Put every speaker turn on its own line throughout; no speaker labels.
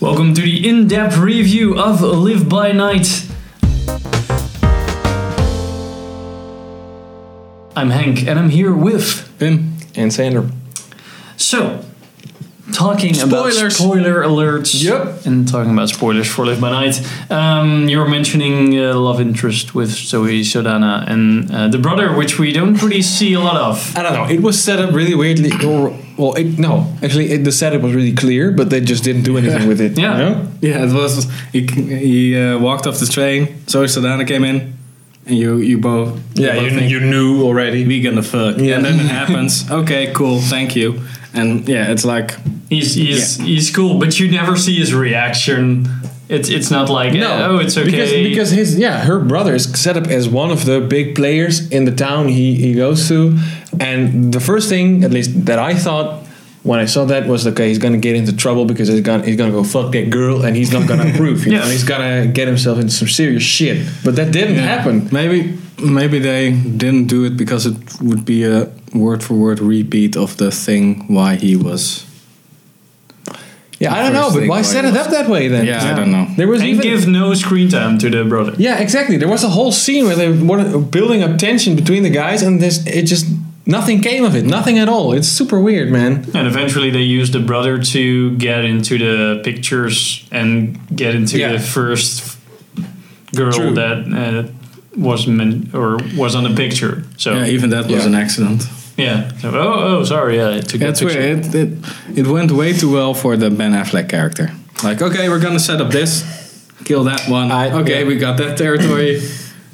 Welcome to the in depth review of Live by Night. I'm Hank and I'm here with.
Bim and Sander.
So, talking about
Spoilers.
spoiler alerts.
Yep.
And talking about spoilers for Live by Night. Um, you were mentioning uh, love interest with Zoe Sodana and uh, the brother, which we don't really see a lot of.
I don't know. It was set up really weirdly. Or well, it, no, actually, it, the setup was really clear, but they just didn't do anything with it.
Yeah.
you know?
Yeah, it was. He, he uh, walked off the train. Zoe Saldana came in, and you you both. both think,
knew already.
we gonna fuck.
Yeah.
And then it happens. Okay, cool. Thank you. And yeah, it's like
He's, he's, he's cool, but you never see his reaction. It's, it's not like, oh, it's okay.
Because, because his yeah, her brother is set up as one of the big players in the town he he goes to, and the first thing, at least that I thought. When I saw that was okay, he's gonna get into trouble because he's gonna he's gonna go fuck that girl and he's not gonna approve, you
Yeah.
know, and he's gonna get himself into some serious shit. But that didn't happen.
Maybe maybe they didn't do it because it would be a word for word repeat of the thing why he was.
Yeah, I don't know,
first
but
thing
why
why
set
it
it
was-
up that way then?
Yeah, I don't know.
There was
and
even
give no screen time to the brother.
yeah, exactly. There was a whole scene where they were building up tension between the guys, and this it just nothing came of it, nothing at all. It's super weird, man.
And eventually they used the brother to get into the pictures and get into
Yeah.
the first girl
True.
that uh, was meant or was on the picture. So
Yeah,
yeah,
even that was
Oh. Yeah.
an accident.
So, oh oh sorry, yeah, it took that
That's
picture.
weird. It, it it went way too well for the Ben Affleck character. Like, okay, we're gonna set up this, kill that one.
I-
okay,
yeah.
we got that territory.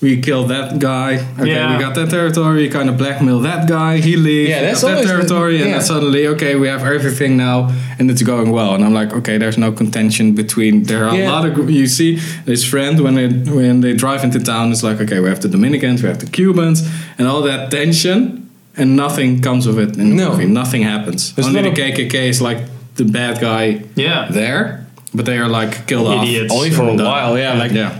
we killed that guy. Okay,
Yeah.
we got that territory. We kind of blackmail that guy. He leaves.
Yeah,
we
that's
got that
always the-
territory, and
yeah.
then suddenly, okay, we have everything now, and it's going well. And I'm like, okay, there's no contention between. There are
Yeah.
a lot of gr- you see his friend when they when they drive into town. It's like, okay, we have the Dominicans, we have the Cubans, and all that tension. And nothing comes of it in the
No.
movie. Nothing happens.
There's
Only
a
the
lot
KKK is like the bad guy
Yeah,
there, but they are like killed
Idiots.
off.
Only for a
And, uh,
while, yeah, like-
yeah.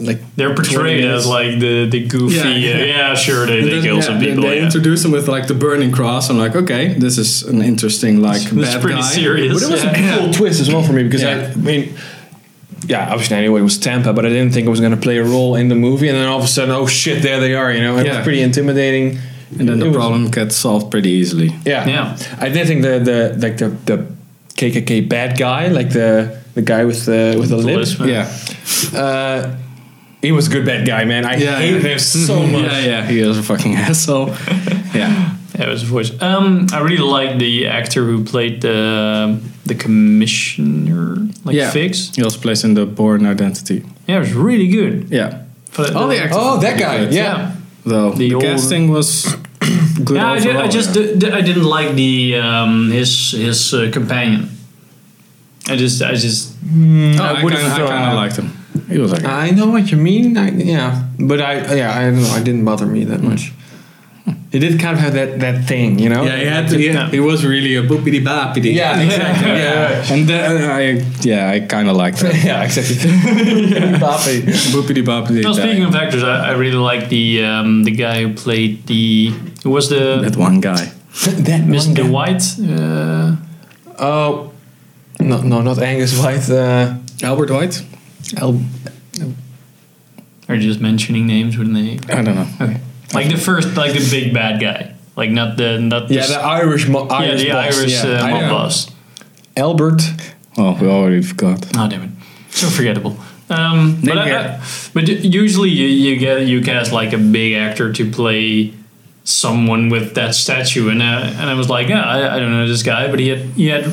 Like
they're portrayed as
minutes.
like the the goofy. Yeah,
Yeah,
yeah.
yeah.
sure they, they
Then,
kill
yeah,
some
then
people.
They
yeah.
introduce him with like the burning cross. I'm like, okay, this is an interesting like
This is
bad
pretty
guy.
serious.
But it was
yeah.
a cool twist as well for me because
Yeah.
I, I mean, yeah, obviously I knew it was Tampa, but I didn't think it was going to play a role in the movie. And then all of a sudden, oh shit, there they are. You know, it
Yeah.
was pretty intimidating.
And then
It
the
was-
problem gets solved pretty easily.
Yeah,
Yeah.
I did think the the like the the KKK bad guy, like the the guy with the with the,
The
lip.
lisp,
Yeah.
Uh, he was a good bad guy, man. I
Yeah,
hated
yeah.
him so much.
Yeah, yeah. He is a fucking asshole. yeah.
Yeah, it was a voice. Um, I really like the actor who played the the commissioner, like
Yeah.
Figs.
He also plays in the Born Identity.
Yeah, it was really good.
Yeah.
For
All the actors
Oh,
are
that
pretty
guy.
good.
Yeah.
Though
The
the,
old-
casting was good.
Yeah, I, did, I
overall,
just
yeah.
di- di- I didn't like the um, his his uh, companion. I just I just
Oh, I,
Mm-hmm. would've
kinda, I
thought- uh,
kinda liked him. He was like,
I know what you mean. I, yeah, but I yeah I don't know. I didn't bother me that much. It did kind of have that that thing, you know.
yeah, he had to,
yeah.
yeah, he was really a boopity boppity.
Yeah, exactly. yeah.
and then I, yeah, I kind of liked that
Yeah, exactly. Boppy.
boopity boppity.
well, speaking
guy.
of actors, I, I really like the um, the guy who played the who was the
that one guy.
that one
Mr.
guy.
White. Uh,
Oh, no, no, not Angus White. Uh,
Albert White?
Al-
are you just mentioning names with name?
I don't know.
Okay, like the first, like the big bad guy, like not the not
yeah,
the,
the Irish, mo-
yeah,
Irish
the
boss,
Irish
yeah.
uh,
I
mob
know.
boss.
Albert.
Oh, we already forgot.
Oh damn it! So forgettable. Um, but,
Name
I,
here.
I, but u- usually you, you get you cast like a big actor to play someone with that statue, and uh, and I was like, yeah, I, I don't know this guy, but he had he had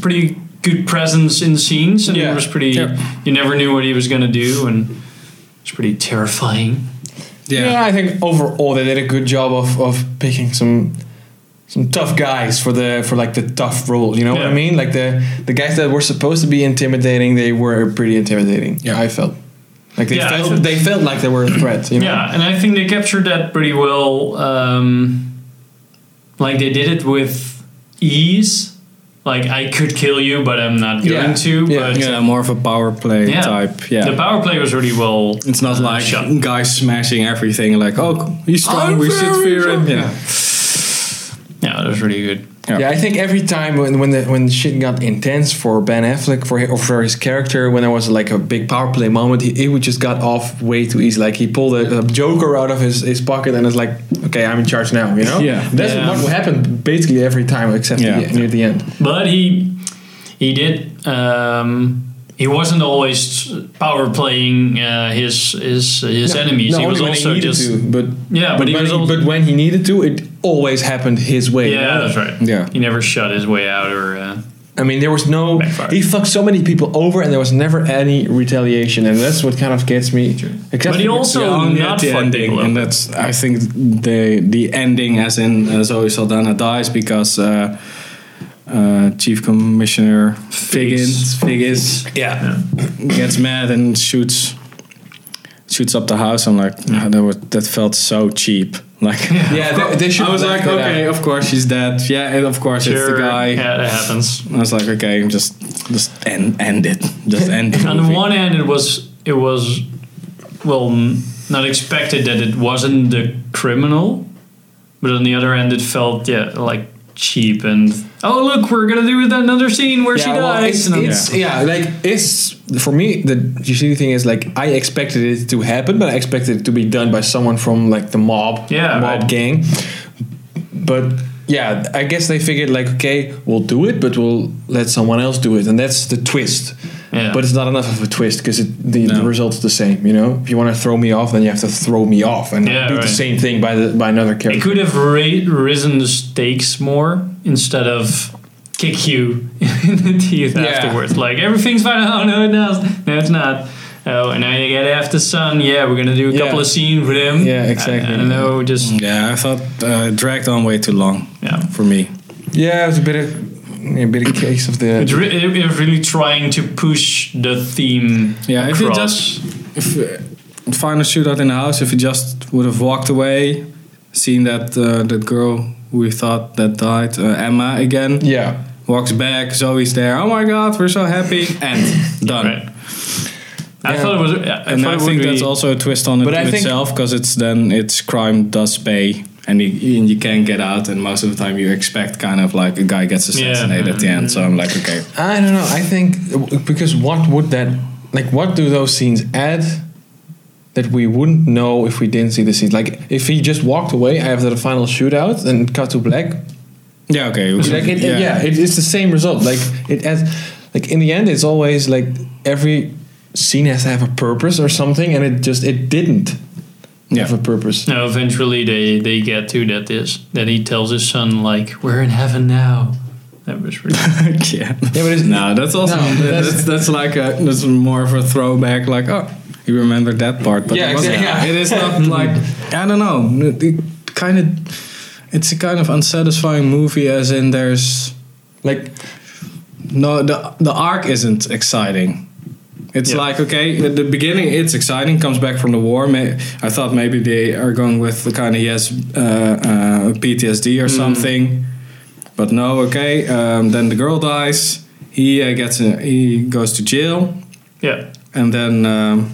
pretty good presence in scenes, and
Yeah.
it was pretty.
Yeah.
You never knew what he was gonna do, and it's pretty terrifying.
Yeah. I think overall they did a good job of, of picking some some tough guys for the for like the tough roles. You know what
Yeah.
I mean? Like the the guys that were supposed to be intimidating, they were pretty intimidating. Yeah, I felt like they
Yeah, I
felt
felt-
they felt like they were a threat. You know?
Yeah, and I think they captured that pretty well. Um, like they did it with ease. Like I could kill you, but I'm not going
Yeah.
to.
Yeah.
But um,
Yeah, more of a power play type. Yeah.
The power play was really well.
it's not like
shot.
guys smashing everything like, oh, he's strong,
I'm
we should
very
fear him.
strong.
Yeah.
Yeah, that was really good.
Yeah.
Yeah, I think every time when when the when shit got intense for Ben Affleck for hi- or for his character, when there was like a big power play moment, he, he would just got off way too easy. Like he pulled a, a Joker out of his, his pocket and it's like, okay, I'm in charge now. You know,
Yeah.
that's
Yeah.
what happened basically every time except
Yeah.
the, near the end.
But he he did. Um, he wasn't always power playing uh, his his his
Yeah.
enemies.
No,
he
only
was
when
also
needed
just
to, but
Yeah, but he
when
was also-
but when he needed to, it always happened his way.
yeah, that's right.
Yeah.
he never shut his way out or uh,
I mean, there was no.
Backfired.
He fucked so many people over, and there was never any retaliation, and that's what kind of gets me. Except
But he
for-
also- So
Yeah, only
not
at the
fuck
ending,
people up.
and that's I think the the ending, as in uh, Zoe Saldana dies because uh, uh, Chief Commissioner Figgins Figgins
yeah.
gets mad and shoots shoots up the house. I'm like, "Ah, that was that felt so cheap. Like,
Yeah, they- they should
I was
have
like,
left it
okay, of course she's dead. Yeah, and of course it's the
Sure,
guy.
Yeah, that happens.
I was like, okay, just just end end it, just end it.
On the one hand, it was it was well n- not expected that it wasn't the criminal, but on the other hand, it felt yeah like cheap and oh look, we're gonna do another scene where she
Yeah, well,
dies.
it's,
and I'm-
it's- yeah. like it's for me the you see the thing is like I expected it to happen, but I expected it to be done by someone from like the mob,
Yeah,
mob
right.
gang. But yeah, I guess they figured like okay, we'll do it, but we'll let someone else do it, and that's the twist.
Yeah.
But it's not enough of a twist because the, the
No.
result's the same. You know, if you want to throw me off, then you have to throw me off and
Yeah,
do the
right.
same thing by the by another
It
character.
could have ra- risen the stakes more instead of kick you in the teeth
Yeah.
afterwards. Like everything's fine. Oh no, it does. No, it's not. Oh, and now you get after sun. Yeah, we're gonna do a
Yeah.
couple of scenes with him.
Yeah, exactly.
I, I don't know. Just
Yeah, I thought uh, it dragged on way too long.
Yeah.
for me.
Yeah, it was a bit of a bit of case of the
It's, re- it- it's really trying to push the theme.
Yeah, if you
across.
just if uh, final shootout in the house, if you just would have walked away, seen that uh, that girl who we thought that died, uh, Emma again,
yeah.
walks back, Zoe's there. Oh my god, we're so happy, and done.
right. I
Yeah.
thought it was. I
And
thought
I
it would
think
be,
that's also a twist on it
But I
in
think-
itself because it's then it's crime does pay. And you, and you can get out, and most of the time you expect kind of like a guy gets
Yeah.
assassinated at the end. So I'm like, okay,
I don't know. I think because what would that like? What do those scenes add that we wouldn't know if we didn't see the scenes? Like if he just walked away after the final shootout and cut to black,
yeah, okay,
like it, yeah, it, it's the same result. Like it adds, like in the end, it's always like every scene has to have a purpose or something, and it just it didn't
Yeah.
have a purpose.
No, eventually they they get to that is that he tells his son like we're in heaven now. That was really.
yeah.
Yeah, but it's,
No, that's also
No,
that's,
that's-
that's like a that's more of a throwback. Like oh, you remember that part, but
Yeah,
it, wasn't-
exactly, yeah.
it is not like I don't know. It, kind of it's a kind of unsatisfying movie, as in there's
like
no the the arc isn't exciting. It's
Yeah.
like okay, at the beginning it's exciting. Comes back from the war. May, I thought maybe they are going with the kind of yes uh, uh, PTSD or something, but no. Okay, um, then the girl dies. He uh, gets a, he goes to jail,
Yeah.
and then um,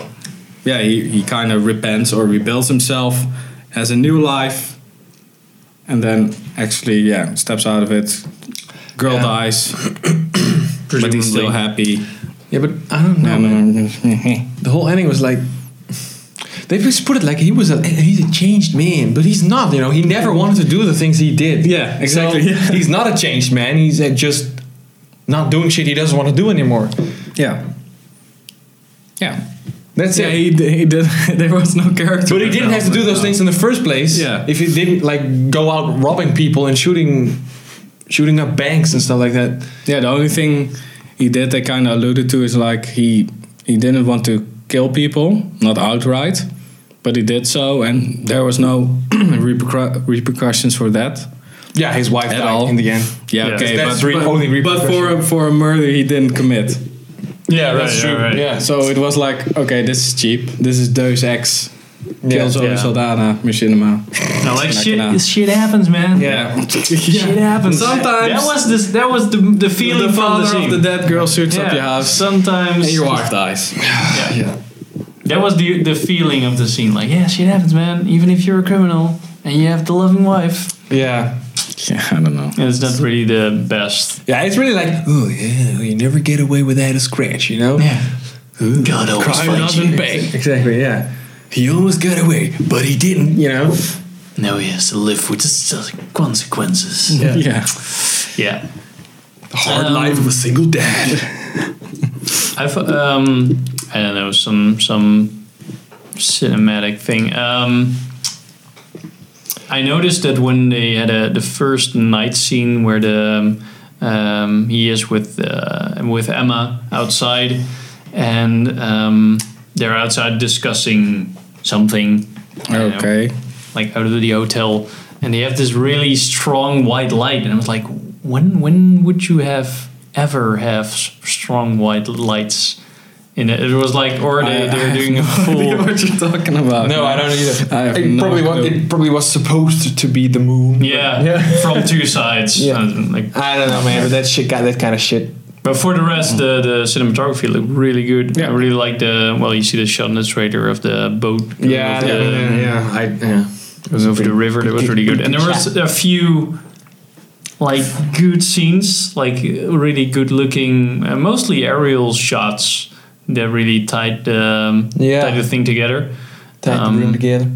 yeah, he, he kind of repents or rebuilds himself, has a new life, and then actually yeah steps out of it. Girl
Yeah.
dies but he's still happy.
yeah, but I don't know. man. the whole ending was like they just put it like he was a he's a changed man, but he's not. You know, he never wanted to do the things he did.
Yeah,
So,
exactly, yeah.
He's not a changed man. He's uh, just not doing shit he doesn't want to do anymore.
yeah. Yeah.
That's
Yeah,
it.
he, d- he did. there was no character.
but he didn't have to do those things in the first place.
Yeah.
If he didn't like go out robbing people and shooting, shooting up banks and stuff like that.
Yeah, the only thing he did they kind of alluded to is like he he didn't want to kill people, not outright, but he did so, and there was no repercu- repercussions for that.
Yeah, his wife
At
died
all.
in the end.
Yeah,
Yeah.
okay,
That's
but,
re-
but,
only
but for
repercussion.
a, for a murder he didn't commit.
Yeah, right, yeah,
That's true,
right.
yeah.
So it was like, okay, this is cheap. This is Deus Ex.
Yeah.
Kills Zoe
Yeah.
Saldana, Machinima.
No, like
Smack
shit,
it out.
shit happens, man.
Yeah.
Shit happens.
Sometimes-
that was this. That was the the feeling
the
from
father
the
of
scene.
the dead girl shoots up
yeah.
your house.
Sometimes
wife dies.
Yeah. That was the the feeling of the scene. Like, yeah, shit happens, man. Even if you're a criminal and you have the loving wife,
Yeah.
Yeah, I don't know.
And it's not really the best.
Yeah, it's really like, oh yeah, you never get away without a scratch, you know?
God always
Crime
finds
doesn't
you.
pay. Exactly, yeah. He almost got away, but he didn't, you know?
Now he has to live with the consequences.
Yeah.
Yeah.
Yeah.
The hard
Um,
life of a single dad.
I've um I don't know some some cinematic thing. Um, I noticed that when they had a, the first night scene where the um, he is with uh, with Emma outside, and um, they're outside discussing something. I don't know,
Okay.
like out of the hotel, and they have this really strong white light, and I was like, when when would you have ever have s- strong white lights? In it, it was like, or they,
I- I
they're
have
doing a
idea
full.
what you're talking about.
No, I don't either.
I have
it
no
probably was.
clue.
It probably was supposed to be the moon.
Yeah,
Yeah.
from two sides.
Yeah.
And, like,
I don't know, man. But that shit got that kind of shit.
but for the rest, the, the cinematography looked really good.
Yeah.
I really like the well, you see the shot in the trailer of the boat.
Yeah,
of the,
yeah, yeah. I, yeah.
It was over the river. That was really good, and there was a few like good scenes, like really good looking, uh, mostly aerial shots that really tied the um,
Yeah.
tied the thing together.
Tied
Um,
the room together.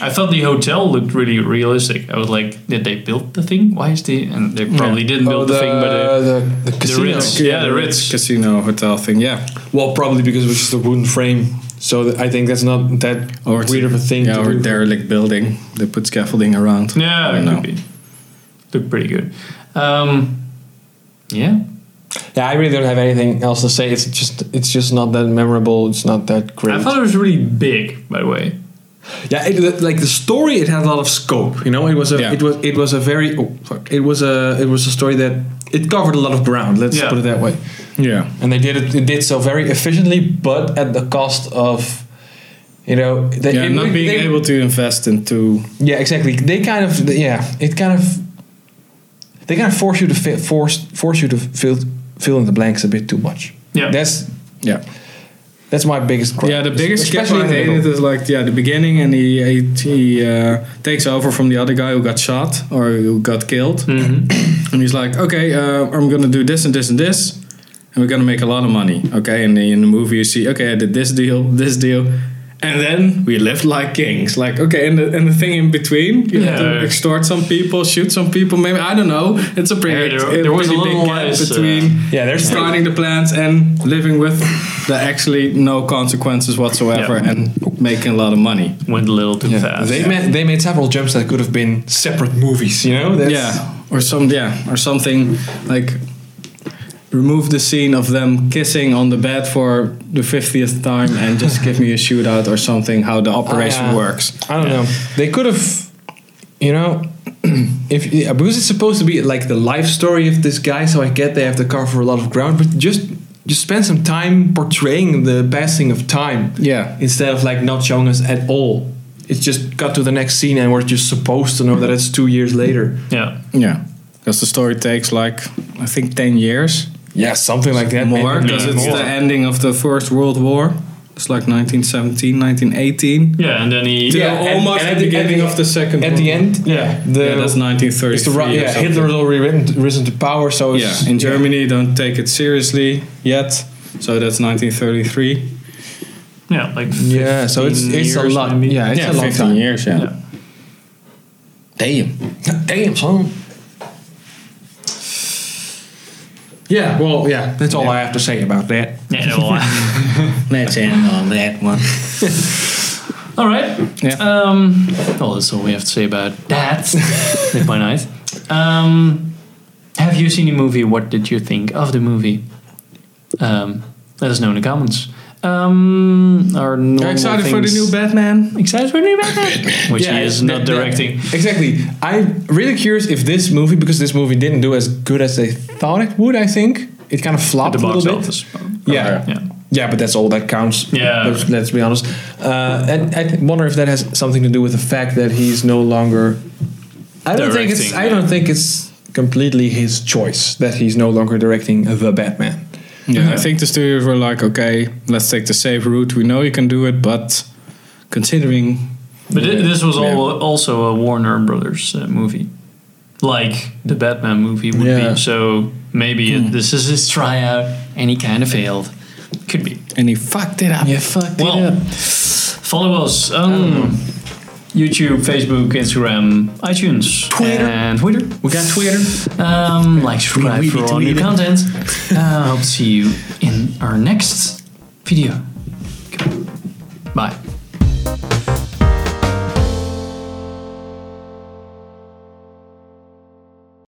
I thought the hotel looked really realistic. I was like, did they build the thing? Why is the and they probably didn't build the, thing, but uh,
Oh, the, the casino.
Ritz. Yeah, the Ritz.
Casino hotel thing. Yeah.
Well, probably because it was just a wooden frame. So th- I think that's not that
it's-
weird of a thing
Yeah,
to
or
do.
derelict building. They put scaffolding around.
yeah,
I
it
don't know.
could be. looked pretty good. Um, yeah,
Yeah, I really don't have anything else to say. It's just it's just not that memorable. It's not that great.
I thought it was really big. By the way,
yeah, it, the- like the story, it had a lot of scope. You know, it was a
Yeah.
it was it was a very oh, sorry. it was a it was a story that it covered a lot of ground. Let's
Yeah.
put it that way.
Yeah.
and they did it, it did so very efficiently, but at the cost of you know they,
Yeah,
it-
not being
they-
able to invest into.
yeah exactly they kind of yeah it kind of they kind of force you to fi- force force you to fill fill in the blanks a bit too much
Yeah.
that's
Yeah.
that's my biggest gripe.
Yeah, the biggest skip
Especially
I
in the middle.
hated is like yeah the beginning, and he he, he uh, takes over from the other guy who got shot or who got killed,
Mhm.
and he's like, okay, uh, I'm gonna do this and this and this, and we're gonna make a lot of money, okay. And in the movie, you see, okay, I did this deal, this deal. And then we lived like kings, like okay, and the, and the thing in between, you had
Yeah.
to extort some people, shoot some people, maybe I don't know. It's a pretty,
Yeah, there- there was a
pretty
little
big gap
less, uh,
between
yeah there's
starting the plans and living with the actually no consequences whatsoever
Yeah.
and making a lot of money.
went a little too
yeah,
fast.
they made they made several jumps that could have been separate movies you know that's,
yeah, or some yeah, or something like remove the scene of them kissing on the bed for the 50th time and just give me a shootout or something how the operation
Oh, Ah, yeah.
works.
I don't know they could have you know if yeah, because it's supposed to be like the life story of this guy so I get they have to cover a lot of ground but just just spend some time portraying the passing of time
Yeah.
instead of like not showing us at all. It's just cut to the next scene and we're just supposed to know that it's two years later.
yeah,
Yeah. Because the story takes like I think 10 years
Yeah, something like that.
more
maybe
because
more.
it's the ending of the First World War. It's like 1917, 1918.
yeah, and then he
to
Yeah, and-
almost
and
at
at
the
the- at
beginning
the-
of the second
At
one.
the end,
Yeah.
yeah, the,
yeah that's 1933
it's the Ru-
or
yeah,
something.
Hitler has already written, risen to power, so it's,
yeah in germany don't take it seriously yet so that's 1933
yeah, like
Yeah, so it's
15
it's a
years
lot.
maybe.
Yeah, it's a long time.
years
Yeah.
Damn, damn, son. Yeah, well, yeah, that's all I have to say about that.
Yeah, no, I-
let's end on that one
all right.
Yeah.
Um, well, that's all we have to say about that. Live by night. Um, have you seen the movie? What did you think of the movie? Um, let us know in the comments. Um, our normal
excited for the
things-
new batman
Excited for the new Batman, which he is
that-
not
that-
directing.
exactly. I'm really curious if this movie, because this movie didn't do as good as they thought it would. I think it kind of
At
flopped
the
a
box
little bit.
office.
Yeah.
Yeah.
Yeah, but that's all that counts.
Yeah.
Let's, let's be honest. Uh, and I th- wonder if that has something to do with the fact that he's no longer. I don't think it's.
Directing,
I don't think it's completely his choice that he's no longer directing the Batman.
yeah i think the studios were like okay let's take the safe route we know you can do it but considering
But thi- this was
Yeah.
all, also a Warner Brothers uh, movie. like the Batman movie would
Yeah. Hmm.
be. So maybe it, this is his tryout, and he kind of failed. Could be.
And he fucked it up.
Yeah, fucked
Well,
it up.
follow us on YouTube, Facebook, Instagram, iTunes,
Twitter.
and Twitter.
We got Twitter.
Um, like, subscribe
Tweety,
for all new
tweety.
content. Uh, hope to see you in our next video. Bye.